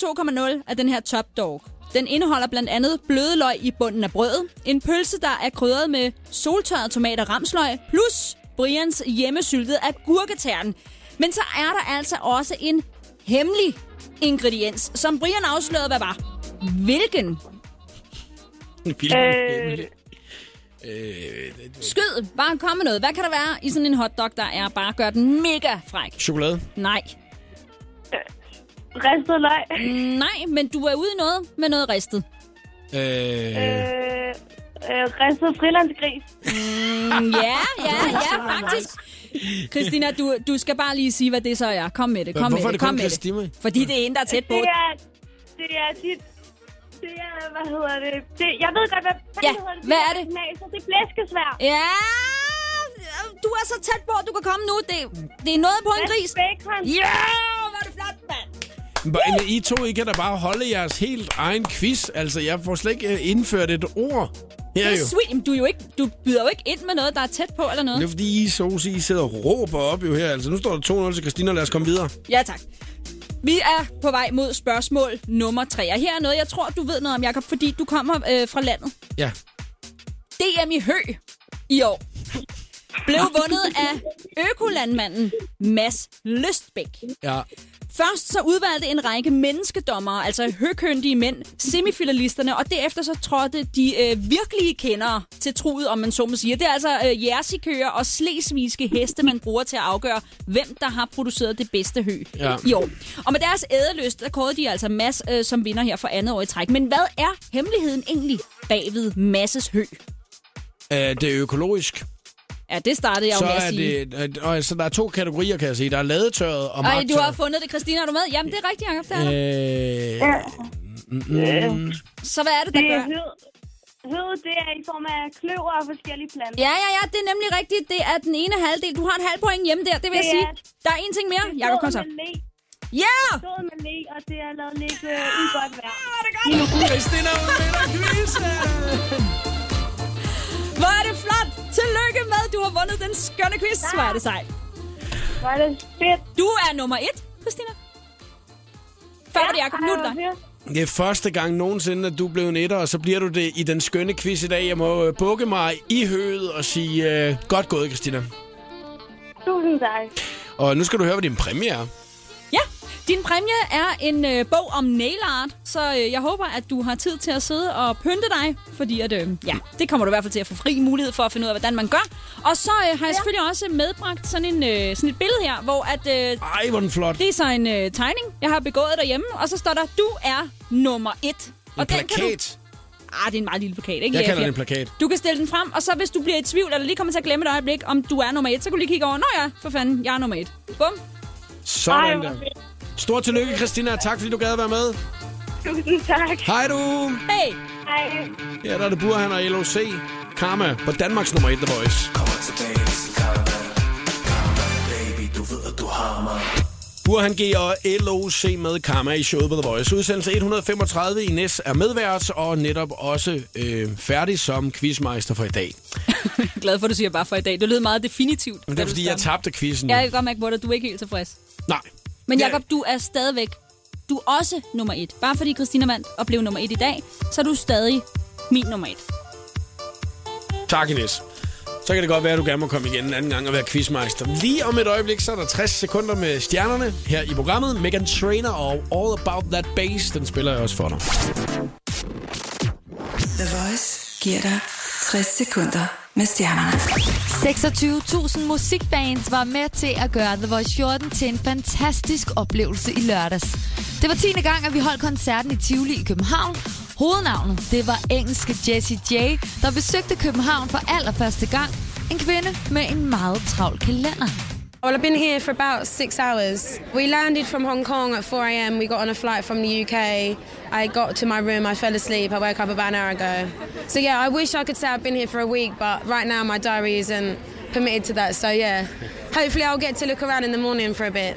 2.0 af den her Top Dog. Den indeholder blandt andet bløde løg i bunden af brødet, en pølse, der er krydret med soltørret tomat og ramsløg, plus Brians hjemmesyltede agurketern. Men så er der altså også en hemmelig ingrediens, som Brian afslørede, hvad var. Hvilken? Øh... Øh, Skyd, bare kom med noget. Hvad kan der være i sådan en hotdog, der er bare gør den mega fræk? chokolade. Nej. Ristet løg? Nej, men du er ude i noget med noget ristet. Øh... Øh, øh, ristet frilandsgris. Mm, ja, ja, ja, faktisk. Christina, du, du skal bare lige sige, hvad det så er. Kom med det, kom Hvorfor er det med det, kom kun med Christina? det. Fordi det er en, der er tæt på. Det er, det er dit... Det er, hvad hedder det? det jeg ved godt, hvad, hvad Ja, hedder det? hvad er det? Nej, så det er flæskesvær. Ja, du er så tæt på, at du kan komme nu. Det, det er noget på en gris. Bacon. Ja, hvor er det flot, mand. Men I to, I kan da bare holde jeres helt egen quiz. Altså, jeg får slet ikke øh, indført et ord. Her Det er jo. sweet. Jamen, Du, er jo ikke, du byder jo ikke ind med noget, der er tæt på eller noget. Det er fordi, I så I sidder og råber op jo her. Altså, nu står der 2-0 til Christina, lad os komme videre. Ja, tak. Vi er på vej mod spørgsmål nummer 3, og her er noget, jeg tror, du ved noget om, Jakob, fordi du kommer øh, fra landet. Ja. DM i Hø i år blev vundet af økolandmanden Mads Løstbæk. Ja. Først så udvalgte en række menneskedommere, altså høkyndige mænd, semifinalisterne, og derefter så trådte de øh, virkelige kendere til truet, om man så må sige. Det er altså øh, jersikøer og slesvigske heste, man bruger til at afgøre, hvem der har produceret det bedste hø Ja. ja. i år. Og med deres ædeløst, der kårede de altså Mads øh, som vinder her for andet år i træk. Men hvad er hemmeligheden egentlig bagved Masses hø? Øh, det er økologisk. Ja, det startede jeg jo så med at er sige. det, øh, øh, så der er to kategorier, kan jeg sige. Der er ladetørret og Ej, magtørret. du har fundet det, Christina, er du med? Jamen, det er rigtigt, Jacob, det er der. Øh, mm, Ja. mm, Så hvad er det, der Det er gør? hød. Hød, det er i form af kløver og forskellige planter. Ja, ja, ja, det er nemlig rigtigt. Det er den ene halvdel. Du har en halv point hjemme der, det vil jeg Det sige. er- Der er en ting mere. Det er Jakob, kom så. flød med læ. Ja! Flød med læ, og det er lavet lidt øh, ugodt vejr. Ah, Christina, hun vinder quizzen! Hvor er det flot! Tillykke med, du har vundet den skønne quiz. Hvor er det sejt. Hvor er det fedt. Du er nummer et, Christina. Før var det Jacob, nu er det dig. Det er første gang nogensinde, at du blev en etter, og så bliver du det i den skønne quiz i dag. Jeg må øh, bukke mig i høvet og sige, øh, godt gået, Christina. Tusind tak. Og nu skal du høre, hvad din præmie er. Ja, din præmie er en øh, bog om nail art, så øh, jeg håber, at du har tid til at sidde og pynte dig, fordi at, øh, ja, det kommer du i hvert fald til at få fri mulighed for at finde ud af, hvordan man gør. Og så øh, har jeg selvfølgelig også medbragt sådan, en, øh, sådan et billede her, hvor at... Øh, Ej, hvor er den flot. Det er så en øh, tegning, jeg har begået derhjemme, og så står der, du er nummer et. En og den plakat. Kan du... Ah, det er en meget lille plakat, ikke? Jeg Ja, kalder det ja. en plakat. Du kan stille den frem, og så hvis du bliver i tvivl, eller lige kommer til at glemme et øjeblik, om du er nummer et, så kan du lige kigge over, nå ja, for fanden, jeg er nummer et. Bum. Ej, Sådan hvor der. Stor tillykke, Christina. Tak, fordi du gad at være med. Tusind tak. Hej du. Hey. Hej. Ja, der er det Burhan og LOC. Karma på Danmarks nummer 1, The Voice. Burhan G og LOC med Karma i showet på The Voice. Udsendelse 135 i Næs er medvært, og netop også øh, færdig som quizmeister for i dag. Glad for, at du siger bare for i dag. Det lød meget definitivt. Men det da er, du fordi jeg startede. tabte quizzen. Ja, Jeg kan godt mærke på dig, du er ikke helt tilfreds. Nej. Men Ja. Jakob, du er stadigvæk Du er også nummer et. Bare fordi Christina vandt og blev nummer et i dag, så er du stadig min nummer et. Tak, Ines. Så kan det godt være, at du gerne må komme igen en anden gang og være quizmeister. Lige om et øjeblik, så er der 60 sekunder med stjernerne her i programmet. Megan Trainer og All About That Bass, den spiller jeg også for dig. The Voice giver dig 60 sekunder med stjernerne. 26.000 musikbands var med til at gøre The Voice 14 til en fantastisk oplevelse i lørdags. Det var 10. gang, at vi holdt koncerten i Tivoli i København. Hovednavnet, det var engelske Jessie J, der besøgte København for allerførste gang. En kvinde med en meget travl kalender. Well, I've been here for about six hours. We landed from Hong Kong at 4 a.m. We got on a flight from the UK. I got to my room. I fell asleep. I woke up about an hour ago. So yeah, I wish I could say I've been here for a week, but right now my diary isn't permitted to that. So yeah, hopefully I'll get to look around in the morning for a bit.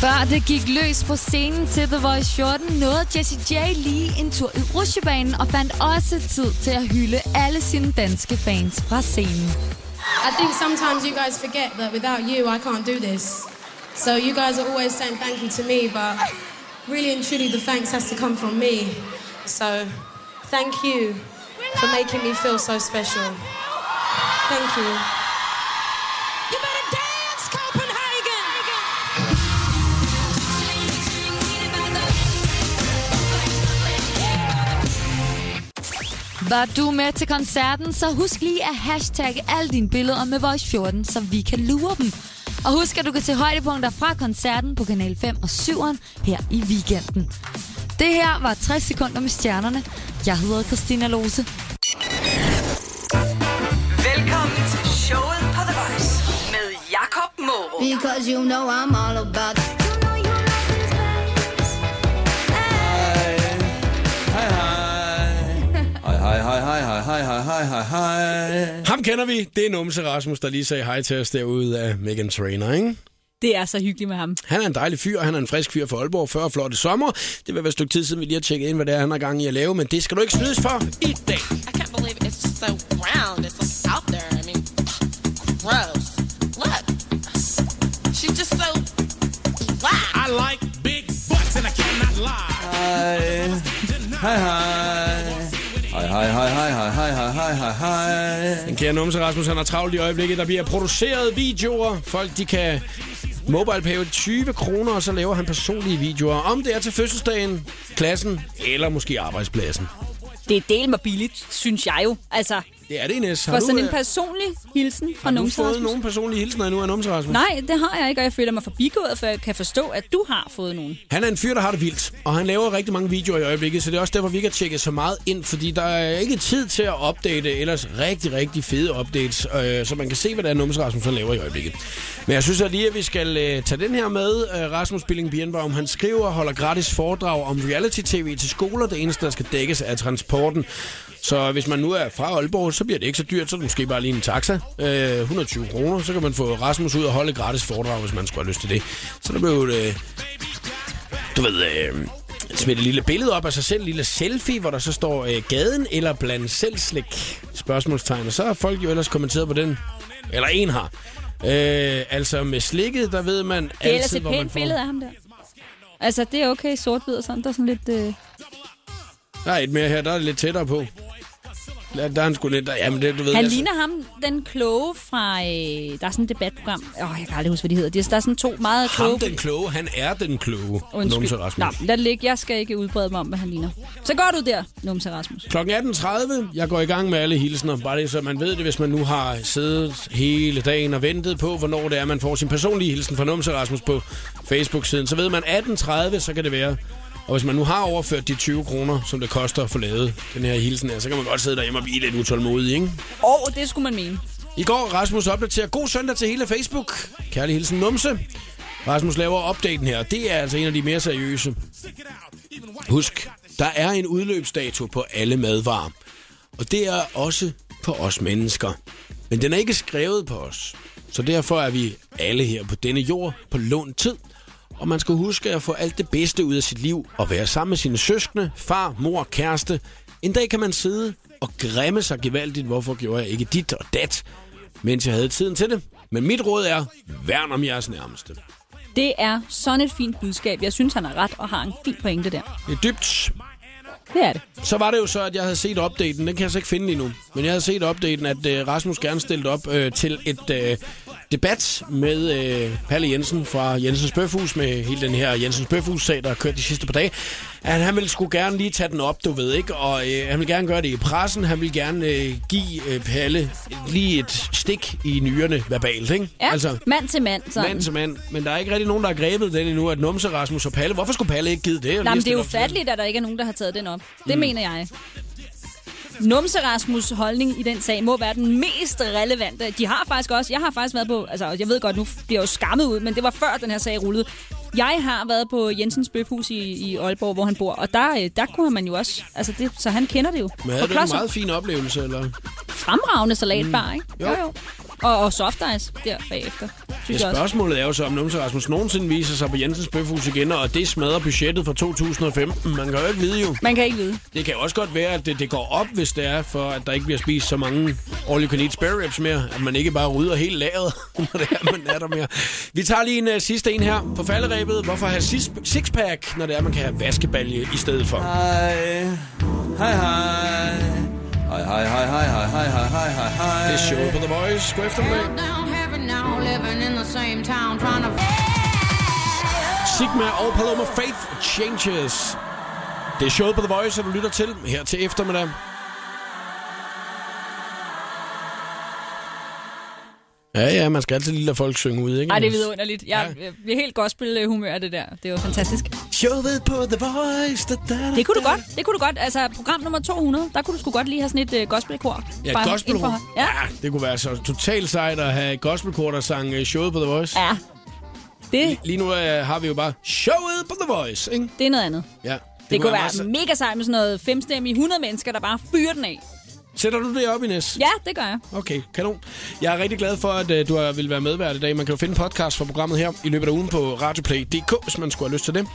Før det gik løs på scenen til The Voice 14, nåede Jessie J lige en tur i rusjebanen og fandt også tid til at hylde alle sine danske fans fra scenen. I think sometimes you guys forget that without you, I can't do this. So you guys are always saying thank you to me, but really and truly, the thanks has to come from me. So thank you for making me feel so special. Thank you. You better dance, Copenhagen! Var du med til koncerten, så husk lige at hashtagge alle dine billeder med Voice 14, så vi kan lure dem. Og husk, at du kan se højdepunkter fra koncerten på Kanal 5 og 7'eren her i weekenden. Det her var 60 sekunder med stjernerne. Jeg hedder Christina Lose. Velkommen til showet på The Voice med Jakob Moro. Because you know I'm all about Hej, hej. Hej, hej, hej, hej, hej, hej, hej, hej, hej. Ham kender vi. Det er Numse Rasmus, der lige sagde hej til os derude af Megan Trainer, ikke? Det er så hyggeligt med ham. Han er en dejlig fyr, han er en frisk fyr fra Aalborg, før flotte sommer. Det vil være et stykke tid siden, vi lige har tjekket ind, hvad det er, han har gang i at lave, men det skal du ikke snydes for i dag. I can't believe it's just so round. It's like out there. I mean, gross. Look, she's just so black. I like big butts, and I cannot lie. Hej, hej, hej. Hej, hej, hej, hej, hej, hej, hej, hej, hej, hej. Den kære numse Rasmus, han har travlt i øjeblikket. Der bliver produceret videoer. Folk, de kan mobile pay 20 kroner, og så laver han personlige videoer. Om det er til fødselsdagen, klassen eller måske arbejdspladsen. Det er del mig billigt, synes jeg jo. Altså, Det er det, Ines. for sådan du, en øh, personlig hilsen fra har du nogen fået nogen personlige hilsner endnu af numse Rasmus? Nej, det har jeg ikke, og jeg føler mig forbigået, for jeg kan forstå, at du har fået nogen. Han er en fyr, der har det vildt, og han laver rigtig mange videoer i øjeblikket, så det er også derfor, vi ikke har tjekket så meget ind, fordi der er ikke tid til at opdate ellers rigtig, rigtig fede updates, øh, så man kan se, hvad der er Numse Rasmus han laver i øjeblikket. Men jeg synes at lige, at vi skal øh, tage den her med. Øh, Rasmus Billing Birnbaum, han skriver og holder gratis foredrag om reality-tv til skoler. Det eneste, der skal dækkes, er transporten. Så hvis man nu er fra Aalborg, så bliver det ikke så dyrt, så er det måske bare lige en taxa. Øh, 120 kroner, så kan man få Rasmus ud og holde et gratis foredrag, hvis man skulle have lyst til det. Så der blev et, øh, du ved, øh, smidt et lille billede op af sig selv, en lille selfie, hvor der så står øh, gaden eller bland selv slik, spørgsmålstegn. Og så har folk jo ellers kommenteret på den, eller en har. Øh, altså med slikket, der ved man Det er ellers altid, et hvor man pænt får. billede af ham der. Altså, det er okay sort-hvid og sådan. Der er sådan lidt... Øh... Der er et mere her, der er lidt tættere på. Der, der er han sgu lidt, der, jamen det, du ved. Han altså- ligner ham, den kloge fra... Øh... Der er sådan et debatprogram. Åh, oh, jeg kan aldrig huske, hvad de hedder. De- Der er sådan to meget kloge... Ham den kloge, han er den kloge, Numse Rasmus. Nå, lad det ligge. Jeg skal ikke udbrede mig om, hvad han ligner. Så går du der, Numse Rasmus. Klokken 18.30. Jeg går i gang med alle hilsner. Bare det, så man ved det, hvis man nu har siddet hele dagen og ventet på, hvornår det er, man får sin personlige hilsen fra Numse Rasmus på Facebook-siden. Så ved man 18.30, så kan det være. Og hvis man nu har overført de 20 kroner, som det koster at få lavet den her hilsen her, så kan man godt sidde derhjemme og blive lidt utålmodig, ikke? Og det skulle man mene. I går, Rasmus opdaterer. God søndag til hele Facebook. Kærlig hilsen, Numse. Rasmus laver opdaten her. Det er altså en af de mere seriøse. Husk, der er en udløbsdato på alle madvarer. Og det er også på os mennesker. Men den er ikke skrevet på os. Så derfor er vi alle her på denne jord på lånt tid. Og man skal huske at få alt det bedste ud af sit liv og være sammen med sine søskende, far, mor, kæreste. En dag kan man sidde og græmme sig gevaldigt, hvorfor gjorde jeg ikke dit og dat, mens jeg havde tiden til det. Men mit råd er, værn om jeres nærmeste. Det er sådan et fint budskab. Jeg synes, han har ret og har en fin pointe der. Det er dybt. Det er det. Så var det jo så, at jeg havde set opdaten. Den kan jeg så ikke finde endnu. Men jeg havde set opdaten, at øh, Rasmus gerne stillede op øh, til et øh, debat med øh, Palle Jensen fra Jensens Bøfhus, med hele den her Jensens Bøfhus-sag, der har kørt de sidste par dage. At han ville skulle gerne lige tage den op, du ved ikke. Og øh, han ville gerne gøre det i pressen. Han ville gerne øh, give øh, Palle lige et stik i nyrerne verbalt, ikke? Ja, altså, mand til mand. Sådan. Mand til mand. Men der er ikke rigtig nogen, der har grebet den endnu, at Numse, Rasmus og Palle... Hvorfor skulle Palle ikke give det? Nej, men det er Lige jo stille op til- fatligt, at der ikke er nogen, der har taget den op. Det mm. mener jeg. Numse Rasmus' holdning i den sag må være den mest relevante. De har faktisk også, jeg har faktisk været på, altså jeg ved godt, nu bliver jeg jo skammet ud, men det var før den her sag rullede. Jeg har været på Jensens Bøfhus i, i Aalborg, hvor han bor, og der, øh, der kunne man jo også, altså det, så han kender det jo. Men Og havde du en klodser. meget fin oplevelse, eller? Fremragende salatbar, ikke? Jo. Og, og soft ice der bagefter, synes jeg Ja, også. spørgsmålet er jo så, om Numse Rasmus nogensinde viser sig på Jensens Bøfhus igen, og det smadrer budgettet for 2015. Man kan jo ikke vide jo. Man kan ikke vide. Det kan jo også godt være, at det, det går op, hvis det er, for at der ikke bliver spist så mange all you can eat spare ribs mere. At man ikke bare rydder hele lageret, når det er, man er der mere. Vi tager lige en uh, sidste en her på falderæbet. Hvorfor have sis- sixpack, når det er, man kan have vaskebalje i stedet for? Hej. Hej, hej. Hej, hej, hej, hej, hej, hej, hej, hej, hej, hej. Det er showet på The Voice. God eftermiddag. Down heaven now, living in the same town, trying to. Sigma og Paloma Faith Changes. Det er showet på The Voice, og du lytter til her til eftermiddag. Ja, ja, man skal altid lige lade folk synge ud, ikke? Ej, det er vidunderligt. Jeg ja. bliver helt gospel-humør af det der. Det var fantastisk. Showet på The Voice. Da, da, da, Det kunne du godt. Det kunne du godt. Altså, program nummer 200, der kunne du sgu godt lige have sådan et uh, gospelkor. Ja, Bare et ind for gospelkor. hånd. Ja. ja, det kunne være så totalt sejt at have et gospelkor, der sang øh, showet på The Voice. Ja. Det, Lige nu øh, har vi jo bare showet på The Voice, ikke? det er noget andet. Ja. Det, Det, det kunne være meget mega sejt med sådan noget femstemmige 100 mennesker, der bare fyrer den af. sejt. Sætter du det op, Ines? Ja, det gør jeg. Okay, kanon. Jeg er rigtig glad for, at øh, du har ville være medvært i dag. Man kan jo finde en podcast fra programmet her i løbet af ugen på radioplay.dk, hvis man skulle have lyst til det.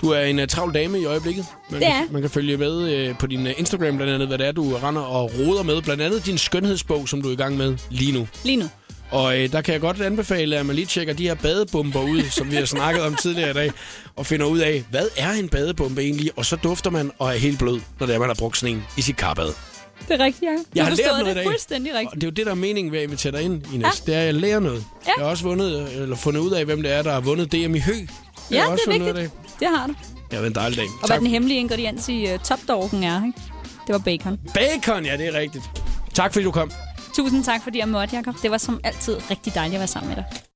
Du er en uh, travl dame i øjeblikket. Man, Det kan- er. man kan følge med uh, på din uh, Instagram blandt andet, hvad det er, du render og roder med. Blandt andet din skønhedsbog, som du er i gang med lige nu. Lige nu. Og øh, der kan jeg godt anbefale, at man lige tjekker de her badebomber ud, som vi har snakket om tidligere i dag, og finder ud af, hvad er en badebombe egentlig? Og så dufter man og er helt blød, når det er, man har brugt sådan en i sit karbad. Det er rigtigt, ja. Jeg har lært noget i det dag. fuldstændig Og rigtigt. det er jo det, der er meningen ved at invitere dig ind, Ines. Ja. Det er, at jeg lærer noget. Ja. Jeg har også vundet, øh, eller fundet ud af, hvem det er, der har vundet DM i Hø. Det har Ja, jeg det også er fundet ud af i vigtigt. Det har du. dag. Ja, det er en dejlig dag. Og hvad tak. den hemmelige ingrediens i uh, topdorken er, ikke? Det var bacon. Bacon, ja, det er rigtigt. Tak fordi du kom. Tusind tak, fordi jeg måtte, Jacob. Det var som altid rigtig dejligt at være sammen med dig.